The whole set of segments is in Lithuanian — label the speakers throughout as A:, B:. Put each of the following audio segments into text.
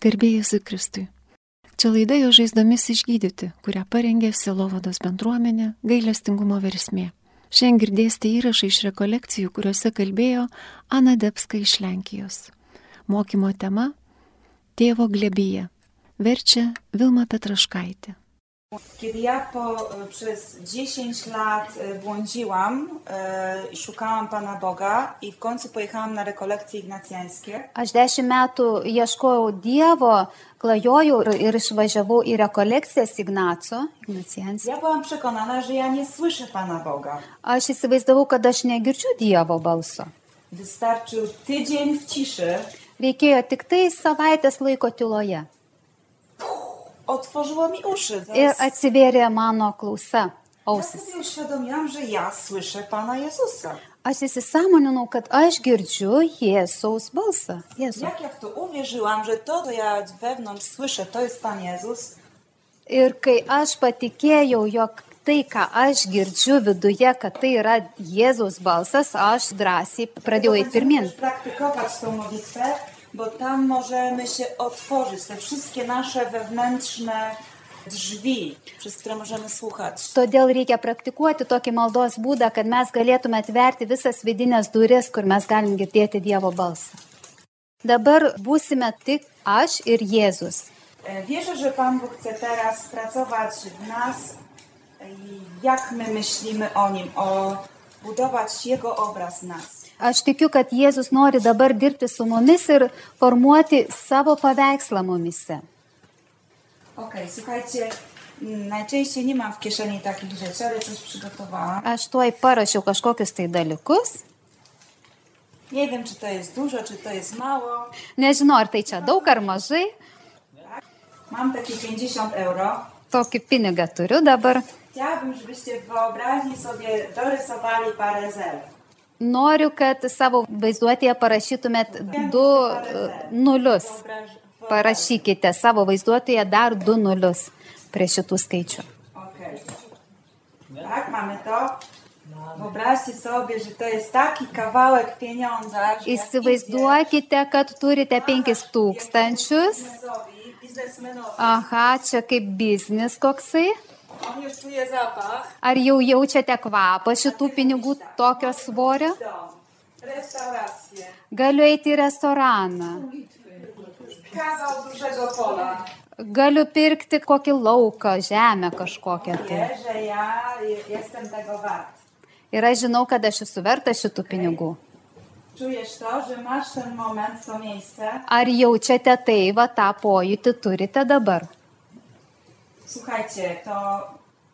A: Garbėjus Kristui. Čia laida jo žaizdomis išgydyti, kurią parengė Silovados bendruomenė gailestingumo versmė. Šiandien girdėsite įrašą iš rekolekcijų, kuriuose kalbėjo Ana Debska iš Lenkijos. Mokymo tema - Tėvo glebyje. Verčia Vilma Petraškaitė.
B: Kiedy ja po, e, przez 10 lat e, błądziłam, e, i szukałam Pana Boga i w końcu pojechałam na rekolekcje ignacjańskie,
C: Aš dešimt metų ieškojau Dievo, klajojau ir, ir išvažiavau į rekolekcijas Ignaco. Ignacijanskį.
B: ja byłam przekonana, że ja nie słyszę Pana Boga.
C: Aš įsivaizdavau, kad aš negirdžiu Dievo balso.
B: Wystarczył tydzień w ciszy,
C: Reikėjo tik tai savaitės laiko tyloje.
B: otworzyło mi uszy. Zaraz
C: Ir atsivėrė mano klausa,
B: ja
C: ausis.
B: sobie uświadomiłam, że ja słyszę Pana Jezusa.
C: Aš įsisamoninau, kad aš girdžiu Jėzaus balsą. Jėzų.
B: Jak ja w to uwierzyłam, że to, co ja wewnątrz słyszę, to jest Pan Jezus,
C: Ir kai aš patikėjau, jog tai, ką aš girdžiu viduje, kad tai yra Jėzaus balsas, aš drąsiai pradėjau eiti pirmin.
B: Będziemy praktykować tą modlitwę, bo tam możemy się otworzyć, te wszystkie nasze wewnętrzne drzwi, przez które możemy słuchać.
C: Todėl reikia praktikuoti tokį maldos būdą, kad mes galėtume atverti visas vidinės duris, kur mes galim girdėti Dievo balsą. Dabar būsime tik aš ir Jėzus.
B: E, Wierzę, że Pan Bóg chce teraz pracować w nas, e, jak my myślimy o Nim, o budować Jego obraz w nas.
C: Aš tikiu, kad Jėzus nori dabar dirbti su mumis ir formuoti savo paveikslą mumise.
B: Okej, słuchajcie, m, najczęściej nie mam w kieszeni takich rzeczy, ale coś przygotowałam.
C: Aš tuoj parašiau kažkokius tai dalykus.
B: Nie wiem, czy to jest dużo, czy to jest mało.
C: Nežinau, ar tai čia daug ar mažai.
B: Mam takie 50 euro.
C: Tokį pinigą turiu dabar.
B: Chciałabym, żebyście wyobraźni sobie dorysowali parę zel.
C: Noriu, kad savo vaizduotėje parašytumėt du e, nulius.
B: Wyobraż...
C: Parašykite savo vaizduotėje dar du nulius prie šitų skaičių.
B: Okej. Tak, mamy to. Wyobraźcie sobie, że to jest taki kawałek pieniądza, że jak
C: Įsivaizduokite, kad turite penkis
B: idzie
C: tūkstančius.
B: biznesowi, biznesmenowi,
C: Aha, čia kaip biznis koksai.
B: on już czuje zapach,
C: Ar jau jaučiate kvapą šitų pinigų tokio svorio?
B: dom, restaurację,
C: Galiu eiti į restoraną.
B: kawał dużego pola.
C: Galiu pirkti kokį lauką, žemę kažkokią. Tai.
B: Wie, że ja je- jestem tego wart.
C: Ir aš žinau, kad aš esu verta šitų pinigų.
B: Czujesz to, że masz ten moment, to miejsce.
C: Ar jaučiate tai, va tą pojūtį turite dabar?
B: Słuchajcie, to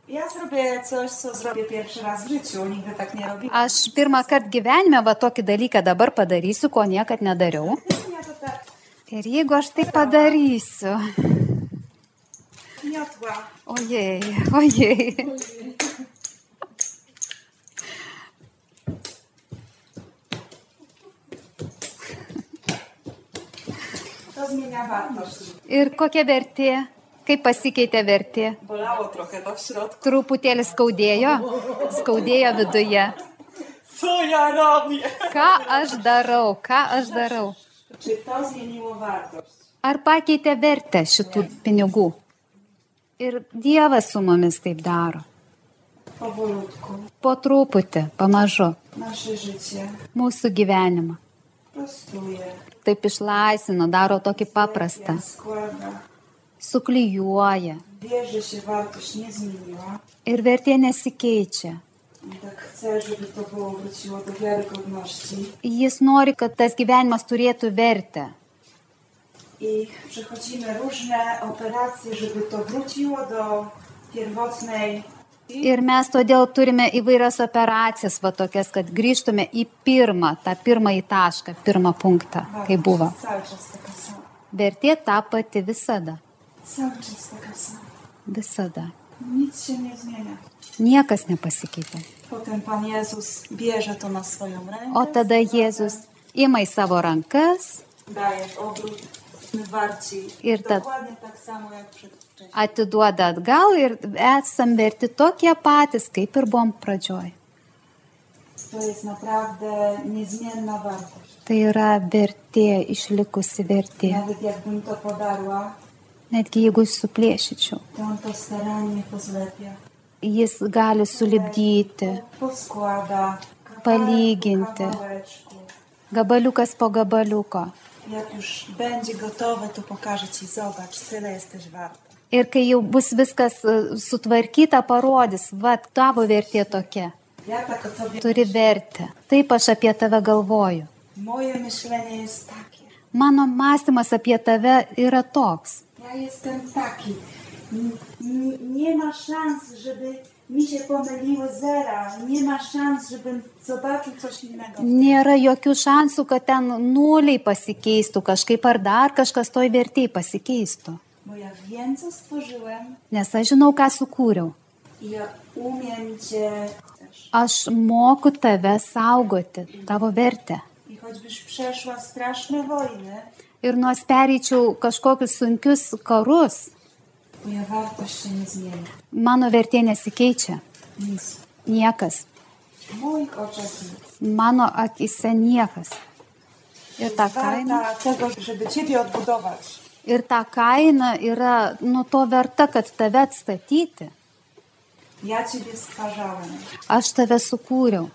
B: ja zrobię coś, co zrobię pierwszy raz w życiu. Nigdy tak nie robiłam.
C: Aš pirmą kartą gyvenime va tokį dalyką dabar padarysiu, ko niekad nedariau.
B: Ja to tak
C: Ir jeigu aš tai padarysiu,
B: miotła.
C: ojei, ojei.
B: To zmienia wartość.
C: Ir kokia vertė, kaip pasikeitė vertė?
B: Bolało trochę to w środku.
C: Truputėlį skaudėjo, skaudėjo viduje.
B: Co ja robię?
C: Ką aš darau, ką aš darau?
B: Czy to zmieniło wartość?
C: Ar pakeitė vertę šitų pinigų? Ir Dievas su mumis taip daro.
B: Powolutku.
C: Po truputį, pamažu,
B: Nasze życie
C: mūsų gyvenimą.
B: prostuje.
C: Taip išlaisvina, daro tokį paprastą.
B: Ja składa.
C: Suklyjuoja.
B: Wierzę się, wartość nie zmieniła.
C: Ir vertė nesikeičia.
B: I tak chcę, żeby to było wróciło do wiarygodności.
C: Jis nori, kad tas gyvenimas turėtų vertę.
B: i przechodzimy różne operacje, żeby to wróciło do pierwotnej.
C: Ir mes todėl turime įvairias operacijas, va tokias, kad grįžtume į pirmą, tą pirmąjį tašką, pirmą punktą, kai buvo.
B: Cały czas taka sama.
C: Vertė ta pati visada.
B: Cały czas taka sama.
C: Visada.
B: Nic się nie zmienia.
C: Niekas nepasikeitė.
B: Potem Pan Jezus bierze to na swoją rękę.
C: O tada Jėzus ima į savo rankas,
B: Daje w obrót. My warci.
C: Ir ta-
B: Dokładnie tak samo jak przedwcześnie.
C: atiduoda atgal ir esam verti tokie patys, kaip ir buvom pradžioj.
B: to jest naprawdę niezmienna wartość.
C: Tai yra vertė, išlikusi vertė.
B: Nawet jakbym to podarła,
C: Netgi jeigu suplėšyčiau,
B: to on to starannie pozlepia.
C: jis gali sulibdyti
B: Poskłada. kawałek po
C: Paliginty.
B: kawałeczku.
C: gabaliukas po gabaliuko.
B: Jak już będzie gotowe, to pokażę Ci, zobacz, tyle jesteś warta.
C: Ir kai jau bus viskas e, sutvarkyta, parodys, va, tavo vertė tokia,
B: Ja tak o Tobie...
C: turi vertę. Taip aš apie tave galvoju.
B: Moje myślenie jest takie.
C: Mano mąstymas apie tave yra toks.
B: Ja jestem taki. N- n- Nie ma szans, żeby mi się pomyliło zera. Nie ma szans, żebym zobaczył coś innego.
C: Nėra jokių šansų, kad ten nuliai pasikeistų kažkaip ar dar kažkas toj vertėjai pasikeistų.
B: Bo ja wiem, co stworzyłem
C: Nes aš žinau, ką sukūriau.
B: i ja umiem Cię też.
C: Aš moku tave saugoti, tavo vertę.
B: I choćbyś przeszła straszne wojny,
C: Ir nors pereičiau kažkokius sunkius karus,
B: moja wartość się nie zmieni.
C: mano vertė nesikeičia.
B: Nic.
C: Niekas.
B: W moich oczach nic.
C: Mano akise niekas. Ir ta kaina.
B: Warta tego, żeby Ciebie odbudować.
C: Ir ta kaina yra nuo to verta, kad tave atstatyti.
B: Ja Ciebie stwarzałem.
C: Aš tave sukūriau.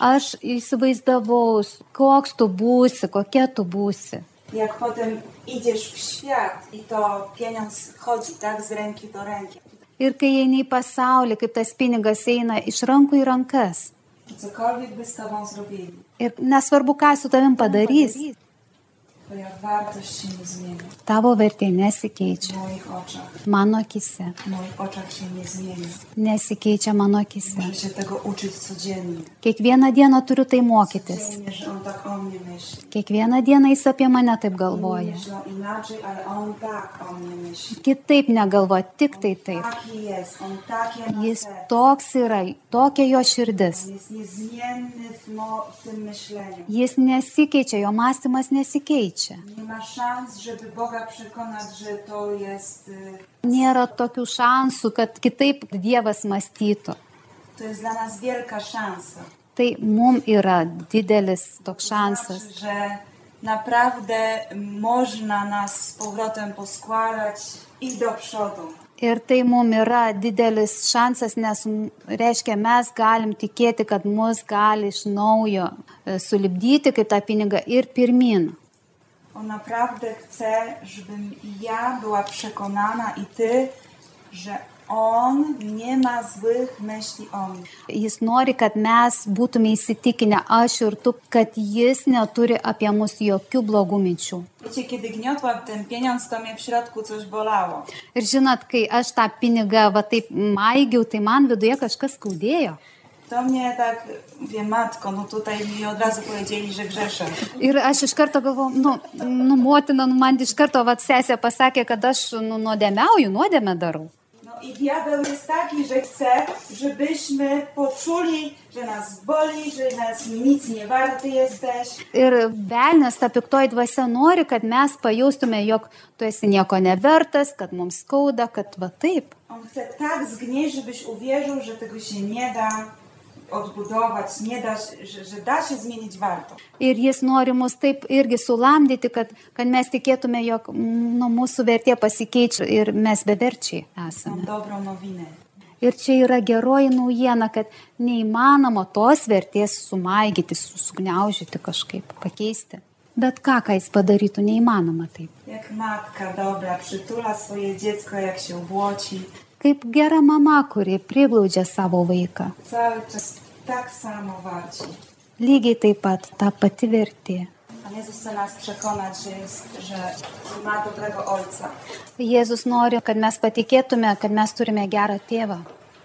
C: Aš įsivaizdavau, koks tu būsi, kokia tu būsi.
B: Jak potem idziesz w świat i to pieniądz chodzi tak z ręki do ręki.
C: Ir kai eini į pasaulį, kaip tas pinigas eina iš rankų į rankas.
B: I cokolwiek by z tobą zrobili,
C: Ir nesvarbu, ką su tavim padarys,
B: twoja wartość się nie zmieni.
C: tavo vertė
B: W
C: nesikeičia.
B: moich oczach.
C: Mano akise.
B: W moich oczach się nie zmieni.
C: Nesikeičia mano akise.
B: Muszę się tego uczyć codziennie.
C: Kiekvieną dieną turiu tai mokytis.
B: Codziennie, że on tak o mnie myśli.
C: Kiekvieną dieną jis apie mane taip
B: Inni
C: galvoja.
B: myślą inaczej, ale on tak o mnie myśli.
C: Kitaip negalvoja, tik tai taip.
B: Taki jest, on takie ma
C: Jis
B: serce.
C: toks yra, tokia jo širdis.
B: On jest niezmienny w, mo- w tym myśleniu.
C: Jis nesikeičia, jo mąstymas nesikeičia.
B: Nie ma szans, żeby Boga przekonać, że to jest... y,
C: Nėra tokių šansų, kad kitaip Dievas mąstytų.
B: To jest dla nas wielka szansa.
C: Tai mum yra didelis toks šansas.
B: Znaczy, że naprawdę można nas z powrotem poskładać i do przodu.
C: Ir tai mum yra didelis šansas, nes m- reiškia, mes galim tikėti, kad mus gali iš naujo e, sulibdyti kaip tą pinigą ir pirmin.
B: On naprawdę chce, żebym ja była przekonana i ty, że on nie ma złych myśli o mnie.
C: Jis nori, kad mes būtume įsitikinę, aš ir tu, kad jis neturi apie mus jokių blogų minčių.
B: Wiecie, kiedy gniotłam ten pieniądz, to mnie w środku coś bolało.
C: Ir žinot, kai aš tą pinigą va taip maigiau, tai man viduje kažkas skaudėjo.
B: To mnie tak, wie matko, no tutaj mi od razu powiedzieli, że grzeszę.
C: Ir aš iš karto galvojau, nu, nu motina, nu, man iš karto va sesė pasakė, kad aš nu, nuodėmiauju, nuodėmę darau.
B: No i diabeł jest taki, że chce, żebyśmy poczuli, że nas boli, że nas nic nie warty jesteś.
C: Ir velnės ta piktoji dvasia nori, kad mes pajaustume, jog tu esi nieko nevertas, kad mums skauda, kad va taip.
B: On chce tak zgnieść, żebyś uwierzył, że tego się nie da odbudować, nie da, się- że, że da się zmienić warto.
C: Ir jis nori mus taip irgi sulamdyti, kad, kad mes tikėtume, jog mm, nu, mūsų vertė pasikeičia ir mes beverčiai esame.
B: Mam dobrą nowinę.
C: Ir čia yra geroji naujiena, kad neįmanoma tos vertės sumaigyti, susugniaužyti kažkaip, pakeisti. Bet ką, ką jis padarytų, neįmanoma taip.
B: Jak matka dobra przytula swoje dziecko, jak się obłoci.
C: Kaip gera mama, kuri priglaudžia savo vaiką.
B: Cały czas tak samo warci.
C: Lygiai taip pat ta pati vertė.
B: Pan Jezus chce nas przekonać, że, jest, że ma dobrego ojca.
C: Jėzus nori, kad mes patikėtume, kad mes turime gerą tėvą.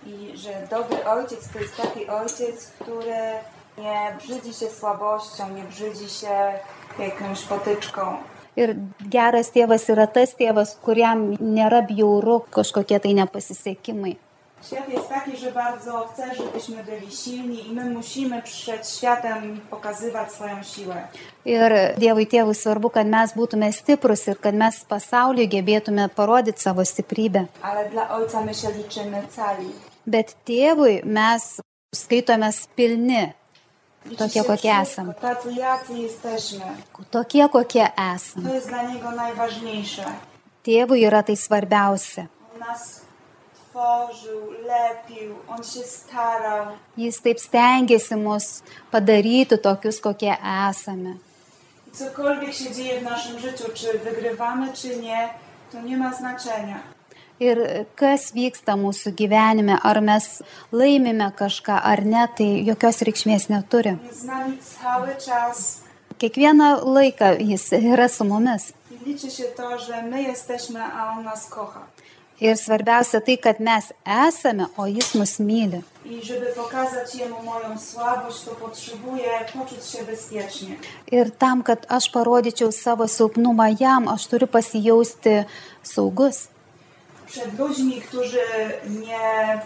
B: I że dobry ojciec to jest taki ojciec, który nie brzydzi się słabością, nie brzydzi się jakąś potyczką.
C: Ir geras tėvas yra tas tėvas, kuriam nėra bjauru kažkokie tai nepasisekimai.
B: Świat jest taki, że bardzo chce, żebyśmy byli silni i my musimy przed światem pokazywać swoją siłę.
C: Ir Dievui tėvui svarbu, kad mes būtume stiprus ir kad mes pasauliu gebėtume parodyti savo stiprybę.
B: Ale dla ojca my się
C: Tak
B: liczymy cali.
C: Bet tėvui mes skaitomės pilni. Tokie, kokie esame.
B: Tacy jacy jesteśmy.
C: Tokie, kokie esame.
B: To jest dla Niego najważniejsze.
C: Tėvui yra tai svarbiausia.
B: On nas tworzył, lepił, On się starał.
C: Jis taip stengiasi mus padaryti tokius, kokie esame.
B: I cokolwiek się dzieje w naszym życiu, czy wygrywamy, czy nie, to nie ma znaczenia.
C: Ir kas vyksta mūsų gyvenime, ar mes laimime kažką ar ne, tai jokios reikšmės neturi.
B: Jest z nami cały czas
C: Kiekvieną laiką jis yra su mumis.
B: i liczy się to, że my jesteśmy, a On nas kocha.
C: Ir svarbiausia tai, kad mes esame, o jis mus myli.
B: I żeby pokazać Jemu moją słabość, to potrzebuję poczuć się bezpiecznie.
C: Ir tam, kad aš parodyčiau savo silpnumą jam, aš turiu pasijausti saugus.
B: Przed ludźmi, którzy nie,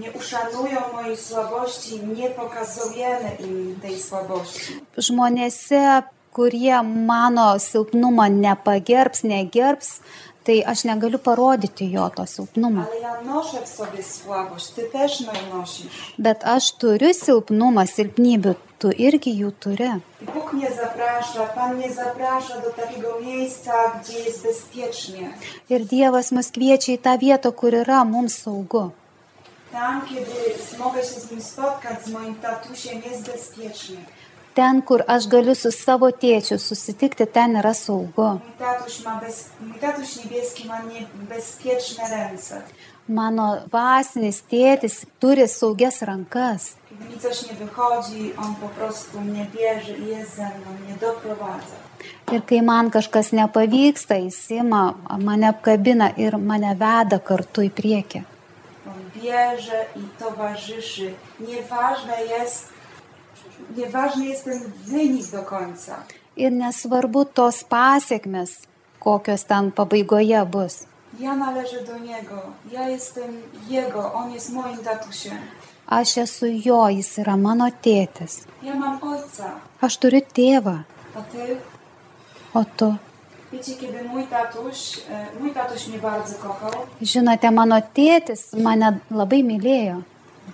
B: nie uszanują mojej słabości, nie pokazujemy im tej słabości.
C: Žmonėse, kurie mano silpnumą nepagerbs, negerbs, tai aš negaliu parodyti jo to silpnumo.
B: Ale ja noszę w sobie słabość, Ty też ją nosisz.
C: Bet aš turiu silpnumą, silpnybių, tu irgi jų turi.
B: I Bóg mnie zaprasza, Pan mnie zaprasza do takiego miejsca, gdzie jest bezpiecznie.
C: Ir Dievas mus kviečia į tą vietą, kur yra mums saugu.
B: Tam, kiedy mogę się z nim spotkać, z moim tatusiem, jest bezpiecznie.
C: Ten, kur aš galiu su savo tėčiu susitikti, ten yra saugu.
B: Mój tatuś, ma bez... Mój tatuś niebieski ma niebezpieczne ręce.
C: Mano vasinis tėtis turi saugias rankas.
B: Kiedy mi coś nie wychodzi, on po prostu mnie bierze i jest ze mną, mnie doprowadza.
C: Ir kai man kažkas nepavyksta, jis ima, mane apkabina ir mane veda kartu į priekį.
B: On bierze i towarzyszy. Nieważne jest, nieważny jest ten wynik do końca.
C: Ir nesvarbu tos pasiekmes, kokios ten pabaigoje bus.
B: Ja należę do niego, ja jestem jego, on jest moim tatusiem.
C: Aš esu jo, jis yra mano tėtis.
B: Ja mam ojca,
C: Aš turiu tėvą,
B: a ty?
C: o tu.
B: Wiecie, kiedy mój tatuś, e, mój tatuś mnie bardzo kochał,
C: Žinote, mano tėtis mane labai mylėjo,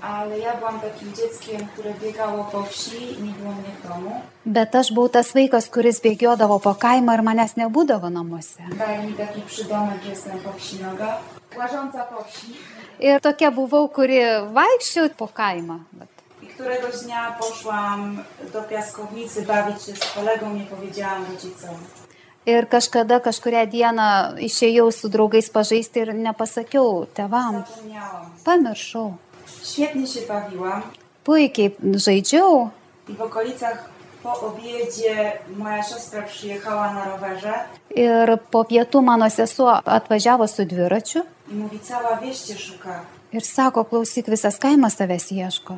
B: ale ja byłam takim dzieckiem, które biegało po wsi i nie było mnie w domu.
C: bet aš buvau tas vaikas, kuris bėgiodavo po kaimą ir manęs nebūdavo namuose.
B: Daje mi taki przydomek, jestem po wsi noga. Łażąca po wsi.
C: Ir tokia buvau, kuri vaikščiau po kaimą. vat.
B: I któregoś dnia poszłam do piaskownicy bawić się z kolegą, nie powiedziałam rodzicom.
C: Ir kažkada kažkuria diena išėjau su draugais pažaisti ir nepasakiau tevam.
B: Zapomniałam.
C: Pamiršau.
B: Świetnie się bawiłam
C: Puikiai žaidžiau
B: i w okolicach po obiedzie moja siostra przyjechała na rowerze
C: ir po pietų mano sesuo atvažiavo su dviračiu
B: i mówi, cała wieś cię szuka.
C: ir sako, klausyk, visas kaimas tavęs ieško.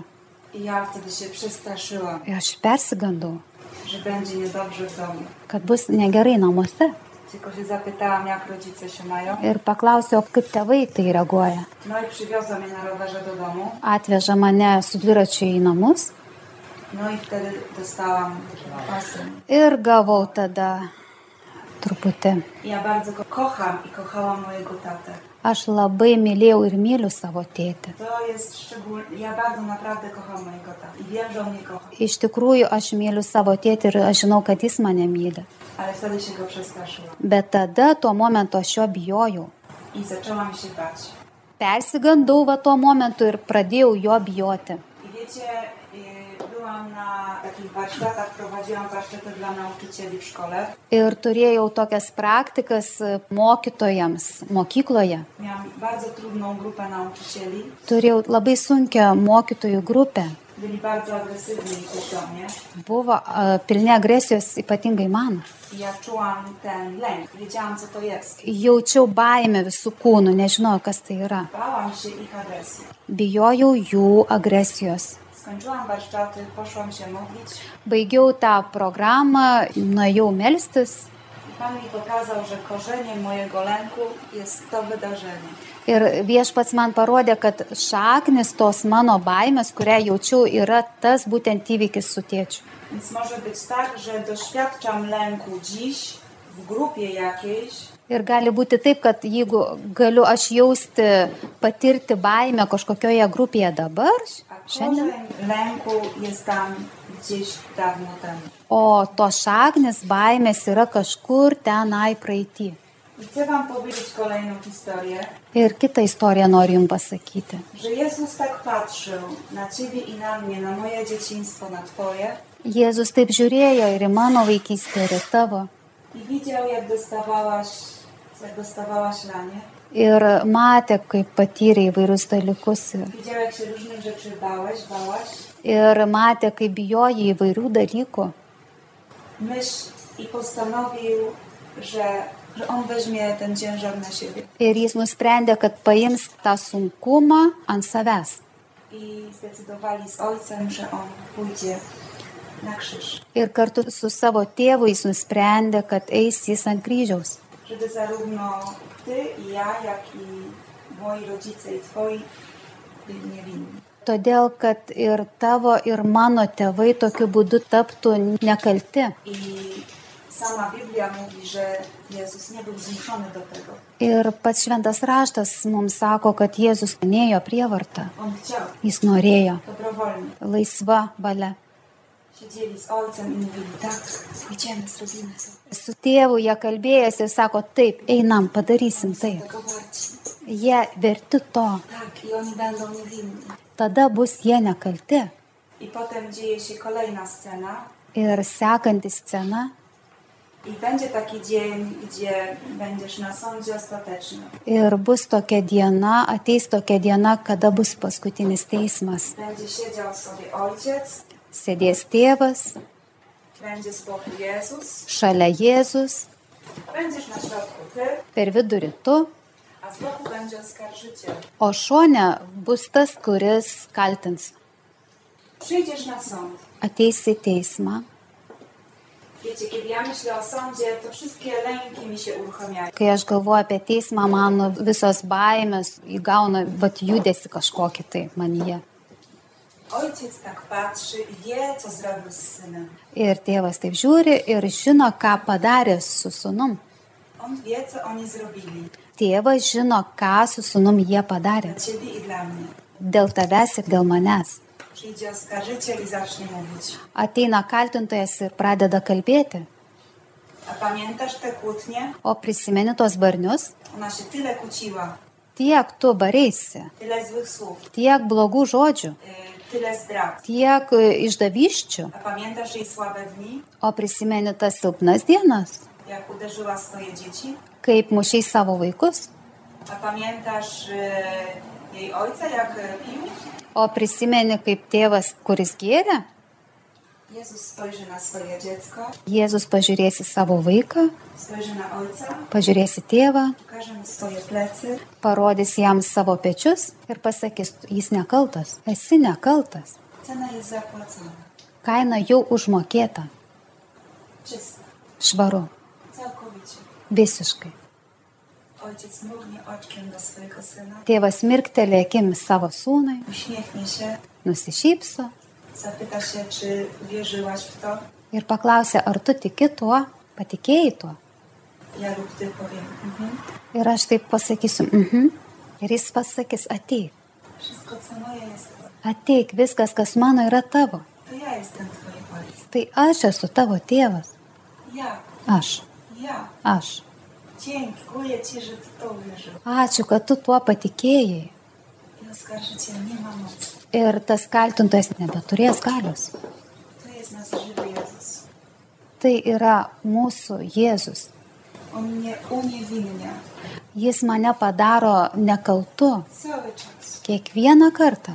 B: I ja wtedy się przestraszyłam,
C: Ir aš persigandau,
B: że będzie niedobrze w domu.
C: kad bus negerai namuose.
B: Tylko się zapytałam, jak rodzice się mają.
C: Ir paklausiau, kaip tėvai į tai reaguoja.
B: No i przywiozła mnie na rowerze do domu.
C: Atveža mane su dviračiu į namus
B: No i wtedy dostałam pasy.
C: ir gavau tada truputį.
B: Ja bardzo go kocham i kochałam mojego tatę.
C: Aš labai mylėjau ir myliu savo tėtį.
B: To jest szczególne. Ja bardzo naprawdę kocham mojego tatę i wiem, że on mnie kocha.
C: Iš tikrųjų, aš myliu savo tėtį ir aš žinau, kad jis mane myli.
B: Ale wtedy się go przestraszyłam
C: Bet tada tuo momentu aš jo bijojau.
B: i zaczęłam się bać.
C: Persigandau va tuo momentu ir pradėjau jo bijoti.
B: I wiecie, yy, byłam na takich warsztatach, prowadziłam warsztaty dla nauczycieli w szkole.
C: Ir turėjau tokias praktikas e, mokytojams mokykloje.
B: Miałam bardzo trudną grupę nauczycieli.
C: Turėjau labai sunkę mokytojų grupę.
B: Byli bardzo agresywni też do mnie.
C: Buvo e, pilni agresijos ypatingai man.
B: I ja czułam ten lęk. Wiedziałam, co to jest.
C: Jaučiau baimę visų kūnų, nežinojau, kas tai yra.
B: Bałam się ich agresji.
C: Bijojau jų agresijos.
B: Skończyłam warsztaty, poszłam się modlić.
C: Baigiau tą programą, nuėjau melstis
B: I Pan mi pokazał, że korzeniem mojego lęku jest to wydarzenie.
C: ir viešpats man parodė, kad šaknis tos mano baimės, kurią jaučiu, yra tas būtent įvykis su tėčiu.
B: Więc może być tak, że doświadczam lęku dziś w grupie jakiejś,
C: Ir gali būti taip, kad jeigu galiu aš jausti, patirti baimę kažkokioje grupėje dabar,
B: a
C: šiandien.
B: Korzeń lęku jest tam gdzieś dawno temu.
C: O to šaknis baimės yra kažkur tenai praeitį.
B: I chcę Wam powiedzieć kolejną historię,
C: Ir kitą istoriją noriu Jums pasakyti.
B: że Jezus tak patrzył na Ciebie i na mnie, na moje dzieciństwo, na Twoje
C: Jėzus taip žiūrėjo ir į mano vaikystę, ir į tavo.
B: i widział, jak dostawałaś, jak dostawałaś lanie.
C: Ir matė, kaip patyrė įvairius dalykus. ir-
B: Widział, jak się różnych rzeczy bałeś, bałaś.
C: Ir matė, kaip bijoji įvairių dalykų.
B: Myśl i postanowił, że, że On weźmie ten ciężar na siebie.
C: Ir jis nusprendė, kad paims tą sunkumą ant savęs.
B: I zdecydowali z Ojcem, że On pójdzie na krzyż.
C: Ir kartu su savo tėvu jis nusprendė, kad eis jis ant kryžiaus.
B: Żeby zarówno Ty i ja, jak i moi rodzice i Twoi byli niewinni.
C: Todėl, kad ir tavo, ir mano tėvai tokiu būdu taptų nekalti.
B: I sama Biblia mówi, że Jezus nie był zmuszony do tego.
C: Ir pats šventas raštas mums sako, kad Jėzus nėjo prievartą.
B: On chciał,
C: Jis norėjo
B: dobrowolnie.
C: laisva valia.
B: Siedzieli z Ojcem i mówili, tak, idziemy, zrobimy to.
C: Su tėvu jie kalbėjęs ir sako, taip, einam, padarysim tai.
B: Tego warci.
C: Jie verti to,
B: Tak, i oni będą niewinni.
C: tada bus jie nekalti.
B: I potem dzieje się kolejna scena.
C: Ir sekanti scena
B: I będzie taki dzień, gdzie będziesz na sądzie ostatecznym.
C: ir bus tokia diena, ateis tokia diena, kada bus paskutinis teismas.
B: Będzie siedział sobie ojciec,
C: Sėdės tėvas,
B: będzie z boku Jezus,
C: šalia Jėzus,
B: będziesz na środku ty,
C: per vidurį tu,
B: a z boku będzie oskarżyciel.
C: o šone bus tas, kuris kaltins.
B: Przyjdziesz na sąd.
C: Ateis į teismą.
B: Wiecie, kiedy ja myślę o sądzie, to wszystkie lęki mi się uruchamiają.
C: Kai aš galvoju apie teismą, mano visos baimės įgauna vat judesi kažkokį tai manyje.
B: Ojciec tak patrzy i wie, co zrobił z synem.
C: Ir tėvas taip žiūri ir žino, ką padarė su sunum.
B: On wie, co oni zrobili.
C: Tėvas žino, ką su sunum jie padarė.
B: Dla ciebie i dla mnie.
C: Dėl tavęs ir dėl manęs.
B: Przyjdzie oskarżyciel i zacznie mówić.
C: Ateina kaltintojas ir pradeda kalbėti.
B: A pamiętasz te kłótnie?
C: O prisimeni tuos barnius?
B: Ona się tyle kłóciła,
C: Tiek tu bareisi,
B: tyle złych słów,
C: tiek blogų žodžių,
B: y, tyle zdrad.
C: tiek e, išdavyščių.
B: A pamiętasz jej słabe dni,
C: O prisimeni tas silpnas dienas,
B: jak uderzyła swoje dzieci?
C: kaip mušiai savo vaikus.
B: A pamiętasz y, jej ojca, jak y, pił?
C: O prisimeni, kaip tėvas, kuris gėrė,
B: Jezus spojrzy na swoje dziecko,
C: Jėzus pažiūrėsi savo vaiką,
B: spojrzy na ojca,
C: pažiūrėsi tėvą,
B: pokaże mu swoje plecy,
C: parodys jam savo pečius ir pasakys, jis nekaltas, esi nekaltas,
B: cena jest zapłacona.
C: kaina jau užmokėta,
B: Czysta,
C: švaru,
B: całkowicie.
C: visiškai.
B: Ojciec mrugnie oczkiem do swojego syna,
C: Tėvas mirktelė akimis savo sūnui,
B: uśmiechnie się,
C: nusišypso
B: zapyta się, czy wierzyłaś w to.
C: ir paklausė, ar tu tiki tuo, patikėjai tuo.
B: Ja lub ty powiem, mhm.
C: Ir aš taip pasakysiu, mhm. Ir jis pasakys, ateik,
B: wszystko co moje jest twoje.
C: ateik, viskas, kas mano, yra tavo.
B: To ja jestem twoim ojcem.
C: Tai aš esu tavo tėvas.
B: Ja,
C: Aš,
B: ja.
C: aš.
B: Dziękuję ci, że ty to uwierzył.
C: Ačiū, kad tu tuo patikėjai.
B: I oskarżyciel nie ma mocy.
C: Ir tas kaltintojas nebeturės galios.
B: To jest nasz żywy Jezus.
C: Tai yra mūsų Jėzus.
B: On mnie uniewinnia
C: Jis mane padaro nekaltu
B: cały czas.
C: kiekvieną kartą.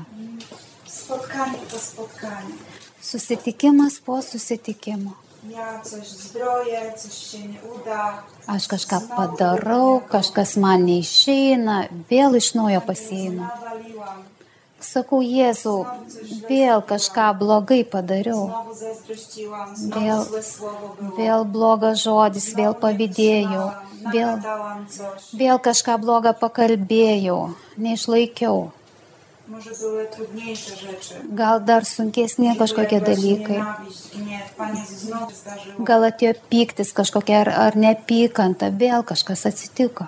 B: Spotkanie po spotkaniu.
C: Susitikimas po susitikimo.
B: Ja coś zbroję, coś się nie uda.
C: Aš kažką
B: Znowu
C: padarau,
B: tego.
C: kažkas man neišeina, vėl iš naujo pasieinu.
B: Nawaliłam.
C: Sakau, Jėzau, vėl kažką blogai padariau.
B: Znowu zazdrościłam,
C: Vėl-
B: znowu złe słowo było.
C: Vėl blogas žodis,
B: Znowu
C: vėl
B: nie
C: pavydėjau,
B: wytrzymałam,
C: vėl,
B: nagadałam coś.
C: vėl kažką blogą pakalbėjau, neišlaikiau.
B: Może były trudniejsze rzeczy.
C: Gal dar sunkesni kažkokie dalykai.
B: Nie, Panie, znowu zdarzyło.
C: Gal atėjo pyktis kažkokia ar, ar nepykanta, vėl kažkas atsitiko.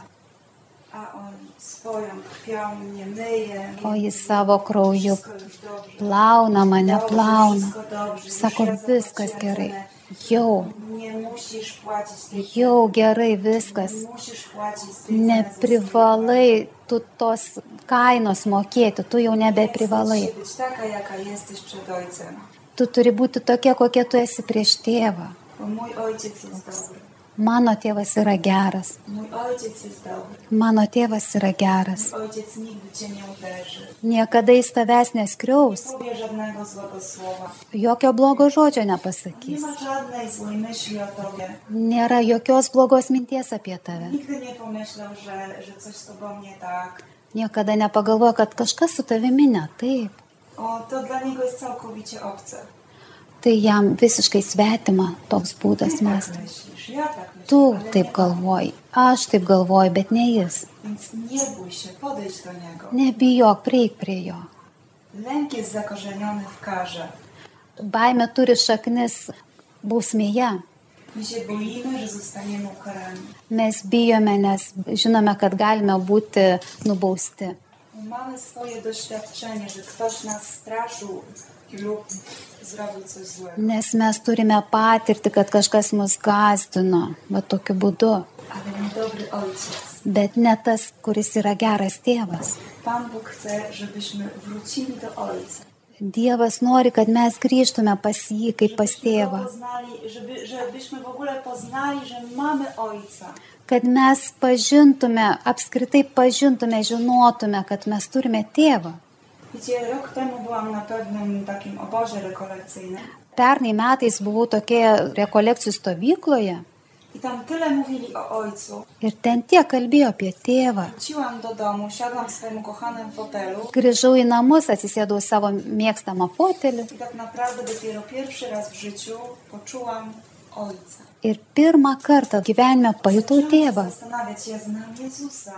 B: A on swoją krwią mnie myje.
C: o jis savo krauju
B: Wszystko już dobrze.
C: plauna mane,
B: Dobrze,
C: plauna.
B: Wszystko dobrze.
C: Sako,
B: Już ja
C: viskas
B: zapłaciłem
C: gerai.
B: cenę.
C: Jau,
B: Nie musisz płacić tej
C: jau gerai viskas.
B: Nie musisz płacić tej ceny za
C: Neprivalai tu tos kainos mokėti, tu jau
B: save.
C: nebeprivalai.
B: Chcesz być taka, jaka jesteś przed ojcem.
C: Tu turi būti tokia, kokia tu esi prieš tėvą.
B: Bo mój ojciec jest dobry.
C: Mano tėvas yra geras.
B: Mój ojciec jest dobry.
C: Mano tėvas yra geras.
B: Mój ojciec nigdy cię nie uderzy.
C: Niekada jis tavęs neskriaus.
B: Nie powie żadnego złego słowa.
C: Jokio blogo žodžio
B: Nie
C: nepasakys.
B: ma żadnej złej myśli o tobie.
C: Nėra jokios blogos minties apie tave.
B: Nigdy nie pomyślał, że, że coś z tobą nie tak.
C: Niekada nepagalvoja, kad kažkas su tavimi ne taip.
B: O, to dla niego jest całkowicie obce.
C: Tai jam visiškai svetima toks
B: Ty
C: būdas
B: tak
C: mąstyti.
B: myślisz, ja tak myślę.
C: Tu
B: ale
C: taip
B: nie.
C: galvoji, aš taip galvoju, bet ne jis.
B: Więc nie bój się, podejdź do niego.
C: Nebijok, prieik prie jo.
B: Lęk jest zakorzeniony w karze.
C: Baime turi šaknis bausmėje.
B: My się boimy, że zostaniemy ukarani.
C: Mes bijome, nes žinome, kad galime būti nubausti.
B: Mamy swoje doświadczenie, że ktoś nas straszył lub zrobił coś złego.
C: Nes mes turime patirti, kad kažkas mus gazdino, va tokiu būdu.
B: Ale mój dobry ojciec,
C: Bet ne tas, kuris yra geras tėvas.
B: Pan Bóg chce, żebyśmy wrócili do Ojca.
C: Dievas nori, kad mes grįžtume pas jį kaip pas
B: Żebyśmy go
C: tėvą.
B: Poznali, żeby, żebyśmy w ogóle poznali, że mamy Ojca.
C: Kad mes pažintume, apskritai pažintume, žinotume, kad mes turime tėvą.
B: Wiecie, rok temu byłam na pewnym takim obozie rekolekcyjnym
C: Pernai metais buvau tokioje rekolekcijų stovykloje
B: i tam tyle mówili o Ojcu.
C: ir ten tiek kalbėjo apie tėvą.
B: Wróciłam do domu, siadłam w swoim ukochanym fotelu
C: Grįžau į namus, atsisėdau į savo mėgstamą fotelį
B: i tak naprawdę dopiero pierwszy raz w życiu poczułam Ojca.
C: ir pirmą kartą gyvenime pajutau tėvą.
B: Zaczęłam się Zastanawiać, ja znam Jezusa,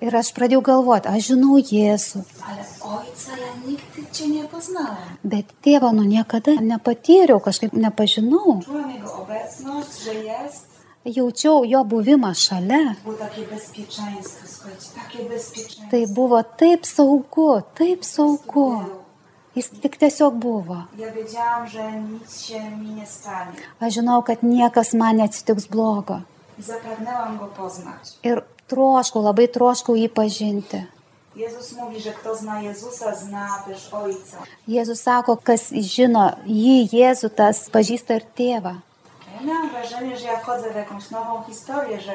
C: Ir aš pradėjau galvoti, aš žinau Jėzų,
B: ale Ojca ja nigdy Cię nie poznałam.
C: bet tėvą nu niekada nepatyriau, kažkaip nepažinau.
B: Czułam Jego obecność, że jest.
C: Jaučiau jo buvimą šalia.
B: Było takie bezpieczeństwo, słuchajcie, takie bezpieczeństwo.
C: Tai buvo taip saugu, taip saugu. Jis tik tiesiog buvo.
B: Ja wiedziałam, że nic się mi nie stanie.
C: Aš žinau, kad niekas man neatsitiks blogo.
B: I Zapragnęłam Go poznać.
C: Ir troškau, labai troškau jį pažinti.
B: Jezus mówi, że kto zna Jezusa, zna też Ojca.
C: Jėzus sako, kas žino jį, Jėzų, tas pažįsta ir tėvą.
B: Ja miałam wrażenie, że ja wchodzę w jakąś nową historię, że,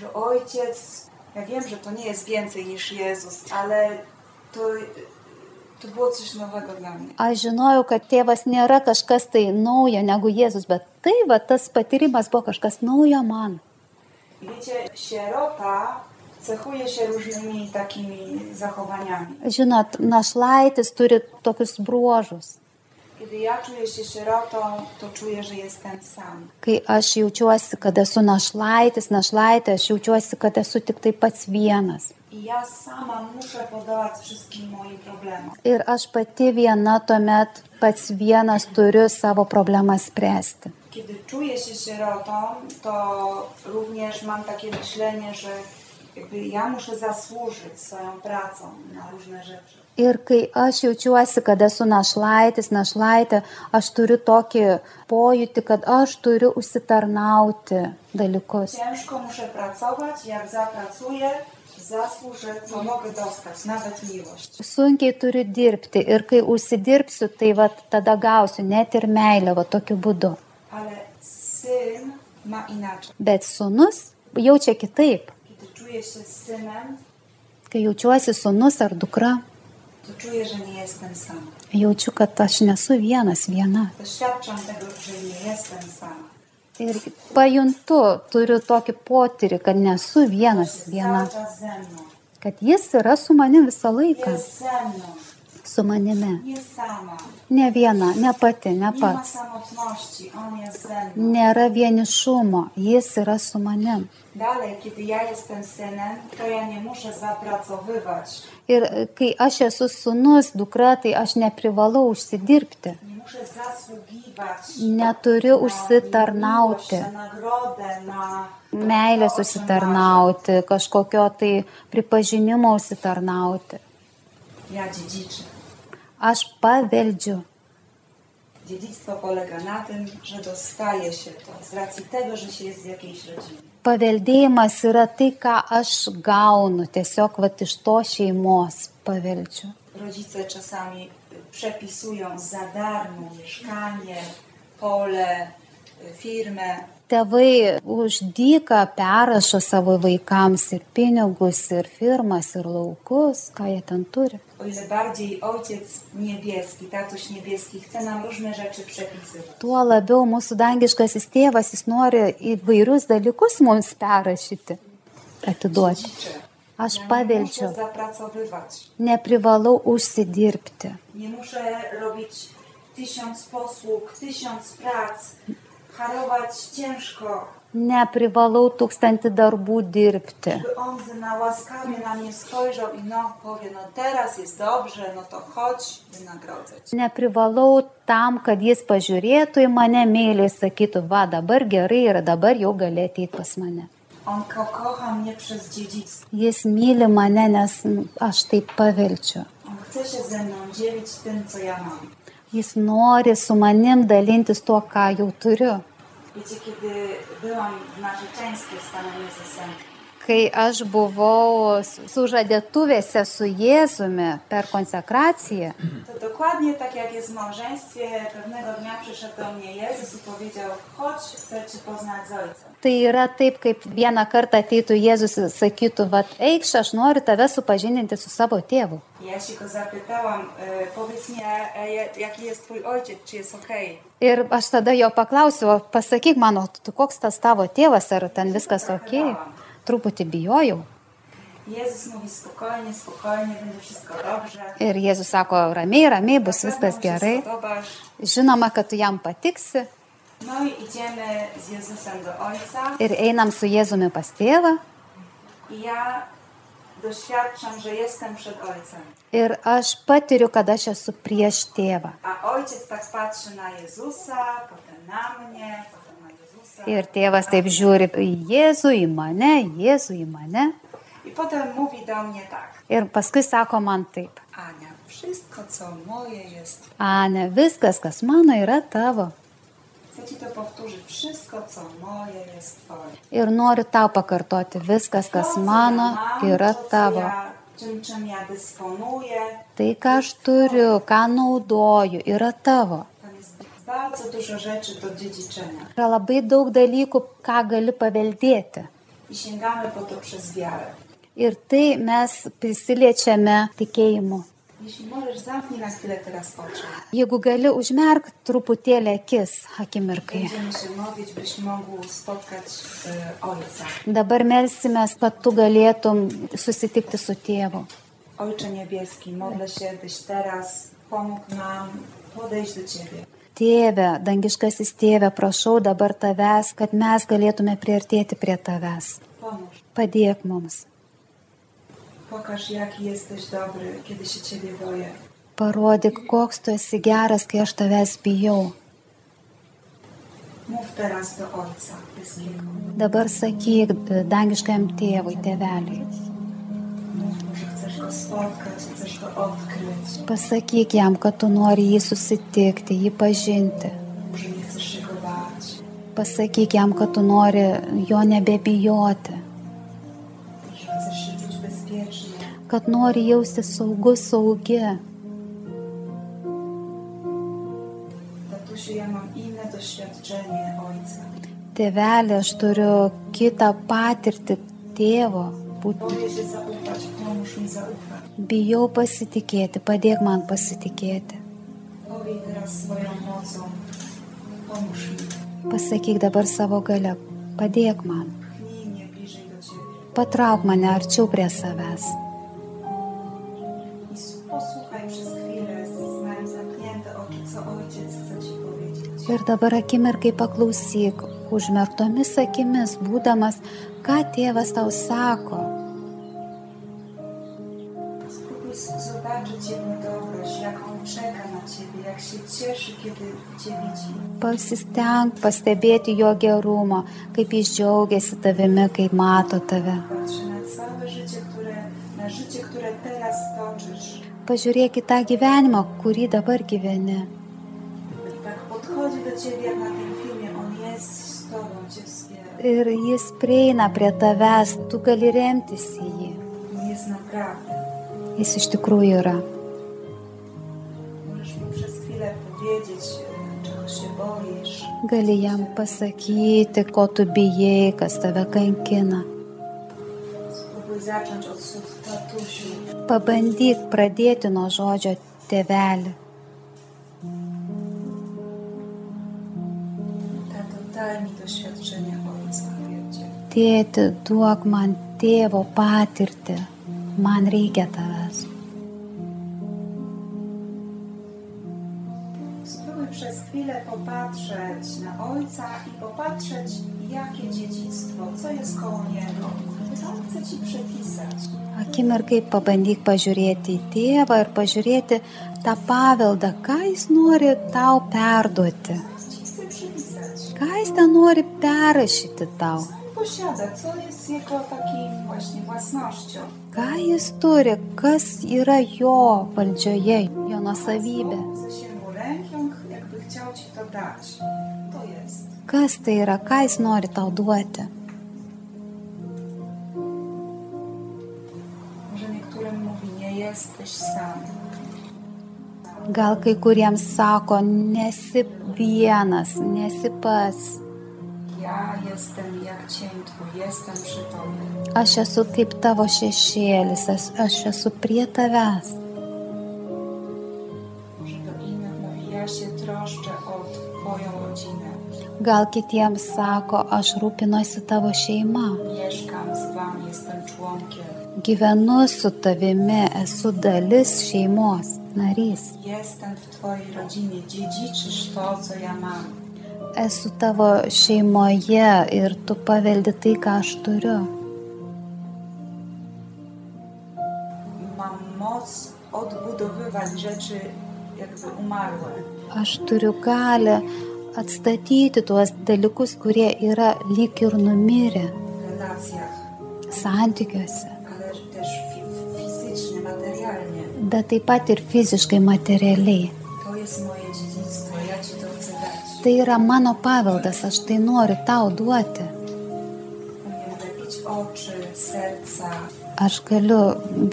B: że ojciec, ja wiem, że to nie jest więcej niż Jezus, ale to, to było coś nowego dla mnie.
C: Aš žinojau, kad tėvas nėra kažkas tai naujo negu Jėzus, bet tai va tas patyrimas buvo kažkas naujo man.
B: I Wiecie, sierota cechuje się różnymi takimi zachowaniami.
C: Žinot, našlaitis turi tokius bruožus.
B: Kiedy ja czuję się sierotą, to czuję, że jestem sam.
C: Kai aš jaučiuosi, kad esu našlaitis, našlaitė, aš jaučiuosi, kad esu tik tai pats vienas.
B: I ja sama muszę podołać wszystkim moim problemom.
C: Ir aš pati viena tuomet pats vienas turiu savo problemą spręsti.
B: Kiedy czuję się sierotą, to również mam takie myślenie, że jakby ja muszę zasłużyć swoją pracą na różne rzeczy.
C: Ir kai aš jaučiuosi, kad esu našlaitis, našlaitė, aš turiu tokį pojūtį, kad aš turiu užsitarnauti dalykus.
B: Ciężko muszę pracować, jak zapracuję, zasłużę, to mogę dostać nawet miłość.
C: Sunkiai turiu dirbti ir kai užsidirbsiu, tai va tada gausiu net ir meilę va tokiu būdu.
B: Ale syn ma inaczej.
C: Bet sunus jaučia kitaip.
B: Kiedy czuję się z synem,
C: Kai jaučiuosi sunus ar dukra,
B: to czuję, że nie jestem sam.
C: jaučiu, kad aš nesu vienas viena.
B: Doświadczam tego, że nie jestem sama.
C: Ir pajuntu, turiu tokį potyrį, kad nesu vienas
B: Jest
C: viena.
B: cały czas ze mną.
C: Kad jis yra su manim visą laiką.
B: Jest ze mną.
C: Su manimi.
B: Nie sama.
C: Ne viena, ne pati, ne
B: Nie ma
C: pats.
B: samotności, on jest ze mną.
C: Nėra vienišumo, jis yra su manim.
B: Dalej, kiedy ja jestem synem, to ja nie muszę zapracowywać,
C: Ir kai aš esu sunus, dukra, tai aš neprivalau užsidirbti.
B: nie muszę muszę zasługiwać
C: Neturiu
B: miłość,
C: užsitarnauti,
B: na nagrodę, na
C: meilės
B: na
C: užsitarnauti, kažkokio tai pripažinimo užsitarnauti.
B: otrzymanie. Ja dziedziczę.
C: Aš paveldžiu.
B: Dziedzictwo polega na tym, że dostaje się to z racji tego, że się jest z jakiejś rodziny.
C: Paveldėjimas yra tai, ką aš gaunu, tiesiog vat, iš to šeimos paveldžiu.
B: Rodzice czasami y, przepisują za darmo mieszkanie, pole, y, firmę.
C: Tėvai uždyka perrašo savo vaikams ir pinigus, ir firmas, ir laukus, ką jie ten turi.
B: O ile bardziej ojciec niebieski, tatuś niebieski chce nam różne rzeczy przepisywać.
C: Tuo labiau mūsų dangiškasis tėvas, jis nori įvairius dalykus mums perrašyti, atiduoti.
B: Dziedziczę.
C: Aš
B: Ja nie muszę
C: paveldžiu,
B: zapracowywać.
C: neprivalau užsidirbti.
B: Nie muszę robić tysiąc posług, tysiąc prac, harować ciężko,
C: Neprivalau tūkstantį darbų dirbti.
B: by on na łaskawie na mnie spojrzał i no powie, no teraz jest dobrze, no to chodź, wynagrodzę cię.
C: Neprivalau tam, kad jis pažiūrėtų į mane meiliai, sakytų, va dabar gerai ir dabar jau gali ateiti pas mane.
B: On kocha mnie przez dziedzictwo.
C: Jis myli mane, nes aš tai paveldžiu.
B: On chce się ze mną dzielić tym, co ja mam.
C: Jis nori su manim dalintis tuo, ką jau turiu.
B: Wiecie, kiedy byłam w narzeczeństwie z Panem Jezusem,
C: Kai aš buvau sužadėtuvėse su Jėzumi per konsekraciją,
B: to dokładnie tak jak jest w małżeństwie, pewnego dnia przyszedł do mnie Jezus i powiedział, chodź, chcę Cię poznać z Ojcem.
C: tai yra taip, kaip vieną kartą ateitų Jėzus ir sakytų, va eikš, aš noriu tave supažindinti su savo tėvu.
B: I Ja się go zapytałam, e, powiedz mi, a, a, ja- jaki jest Twój ojciec, czy jest okej?
C: Ir aš tada jo paklausiau, "O pasakyk mano, tu koks tas tavo tėvas, ar ten viskas ok? Truputį bijojau.
B: Jezus mówi spokojnie, spokojnie, będzie wszystko dobrze.
C: Ir Jėzus sako, ramiai, ramiai, bus
B: Na
C: viskas
B: pewno mu się
C: gerai.
B: spodobasz.
C: Žinoma, kad tu jam patiksi.
B: No i idziemy z Jezusem do Ojca
C: Ir einam su Jėzumi pas tėvą.
B: i ja doświadczam, że jestem przed Ojcem.
C: Ir aš patiriu, kad aš esu prieš tėvą.
B: A Ojciec tak patrzy na Jezusa, potem na mnie, potem na Jezusa.
C: Ir tėvas taip žiūri į Jėzų, į mane, Jėzų, į mane.
B: I potem mówi do mnie tak.
C: Ir paskui sako man taip.
B: Ania, wszystko co moje jest.
C: Ane, viskas, kas mano, yra tavo.
B: Chcę Ci to powtórzyć. Wszystko co moje jest Twoje.
C: Ir noriu tau pakartoti, viskas,
B: To,
C: kas
B: co ja
C: mano,
B: mam,
C: yra
B: to, co
C: tavo.
B: ja- Czym, czym ja dysponuję.
C: Tai, ką aš turiu, ką naudoju, yra tavo.
B: Tam jest bardzo dużo rzeczy do dziedziczenia.
C: Yra labai daug dalykų, ką gali paveldėti.
B: I sięgamy po to przez wiarę.
C: Ir tai mes prisiliečiame tikėjimu.
B: Jeśli możesz, zamknij na chwilę teraz oczy.
C: Jeigu gali užmerk truputėlį akis akimirkai.
B: Będziemy się modlić, byś mógł spotkać y, Ojca.
C: Dabar melsimės, kad tu galėtum susitikti su tėvu.
B: Ojcze Niebieski, modlę się, byś teraz pomógł nam podejść do Ciebie.
C: Tėve, dangiškasis tėve, prašau dabar tavęs, kad mes galėtume priartėti prie tavęs.
B: Pomóż.
C: Padėk mums.
B: Pokaż, jaki jesteś dobry, kiedy się Ciebie boję.
C: Parodyk, koks tu esi geras, kai aš tavęs bijau.
B: Mów teraz do Ojca Bieskiego.
C: Dabar sakyk dangiškajam tėvui, tėveliai.
B: Mów, że chcesz Go spotkać, chcesz Go odkryć,
C: Pasakyk jam, kad tu nori jį susitikti, jį pažinti.
B: że nie chcesz się Go bać,
C: Pasakyk jam, kad tu nori jo nebebijoti,
B: że chcesz się czuć bezpiecznie.
C: kad nori jausti saugus, saugi.
B: Tatusiu, ja mam inne doświadczenie Ojca.
C: Tėvelė, aš turiu kitą patirtį tėvo. Būt-
B: Boję się zaufać, pomóż mi zaufać.
C: Bijau pasitikėti, padėk man pasitikėti.
B: Powie teraz swoją mocą, pomóż mi.
C: Pasakyk dabar savo gale, padėk man.
B: Pchnij mnie bliżej do Ciebie
C: Patrauk mane arčiau prie savęs.
B: i s- posłuchaj przez chwilę, znam zamknięte oczy, co Ojciec chce Ci powiedzieć.
C: Ir dabar akimirkai paklausyk, užmerktomis akimis būdamas, ką tėvas tau sako.
B: Spróbuj s- zobaczyć Jego dobroć, jak On czeka na na Ciebie, jak się cieszy, kiedy Cię widzi.
C: Pasisteng pastebėti jo gerumą, kaip jis džiaugiasi tavimi, kaip mato tave.
B: Patrzy na całe życie, które, na życie, które teraz toczysz.
C: Pažiūrėk į tą gyvenimą, kurį dabar gyveni.
B: I tak podchodzi do Ciebie jak na tym filmie. On jest z Tobą, Cię wspiera.
C: Ir jis prieina prie tavęs, tu gali remtis į jį.
B: On jest naprawdę.
C: Jis iš tikrųjų yra.
B: Możesz mu przez chwilę powiedzieć, e, czego się boisz.
C: Gali jam pasakyti, ko tu bijai, kas tave kankina.
B: Spróbuj zacząć od słów tatusiu.
C: Pabandyk pradėti nuo žodžio tėvelį.
B: Tato, daj mi doświadczenie Ojca, mówię Cię.
C: Tėti, duok man tėvo patirtį. Man reikia tavęs.
B: Spróbuj przez chwilę popatrzeć na Ojca i popatrzeć, jakie dziedzictwo, co jest koło Niego. Co On chce Ci przepisać.
C: Akimirkai pabandyk pažiūrėti į tėvą ir pažiūrėti tą paveldą, ką jis nori tau perduoti.
B: Co Ci chce przypisać?
C: Ką jis ten nori perrašyti tau.
B: Co On posiada? Co jest Jego takim właśnie własnością?
C: Ką jis turi, kas yra jo valdžioje, jo nusavybė.
B: Ze mu ręką, jakby chciał Ci to dać. To jest.
C: Kas tai yra, ką jis nori tau duoti.
B: Może niektórym mówi, nie jesteś sam.
C: Gal kai kuriems sako, nesi vienas, nesi pats.
B: Ja jestem jak cień Twój, jestem przy Tobie.
C: Aš esu kaip tavo šešėlis, aš, aš esu prie tavęs.
B: Może do innych mówi, ja się troszczę o Twoją rodzinę.
C: Gal kitiems sako, aš rūpinosi tavo šeima,
B: Mieszkam z Wami, jestem członkiem.
C: gyvenu su tavimi, esu dalis šeimos, narys.
B: Jestem w Twojej rodzinie, dziedziczysz to, co ja mam.
C: Esu tavo šeimoje ir tu paveldi tai, ką aš turiu.
B: Mam moc odbudowywać rzeczy jakby umarłe.
C: Aš turiu galę atstatyti tuos dalykus, kurie yra lyg ir numirę
B: W relacjach,
C: santykiuose,
B: ale też fi- fizycznie, materialnie.
C: bet taip pat ir fiziškai materialiai.
B: To jest moje dziedzictwo, ja Ci to chcę dać.
C: Tai yra mano paveldas, aš tai noriu tau duoti.
B: Umiem lepić oczy, serca.
C: Aš galiu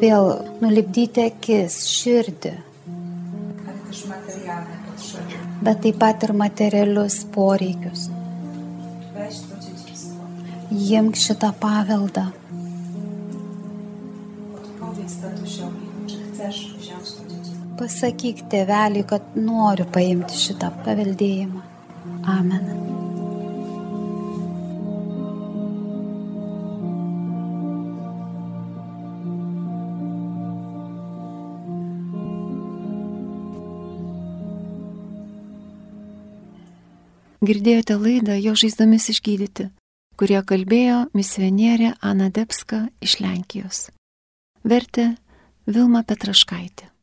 C: vėl nulipdyti akis, širdį,
B: Ale też materialne potrzeby.
C: bet taip pat ir materialius poreikius.
B: Weź to dziedzictwo.
C: Imk šitą paveldą.
B: Odpowiedz tatusiowi, czy chcesz wziąć to dziedzictwo.
C: Pasakyk tėveliui, kad noriu paimti šitą paveldėjimą. Amen.
A: Girdėjote laidą Jo žaizdomis išgydyti, kurie kalbėjo misionierė Ana Debska iš Lenkijos. Vertė Vilma Petraškaitė.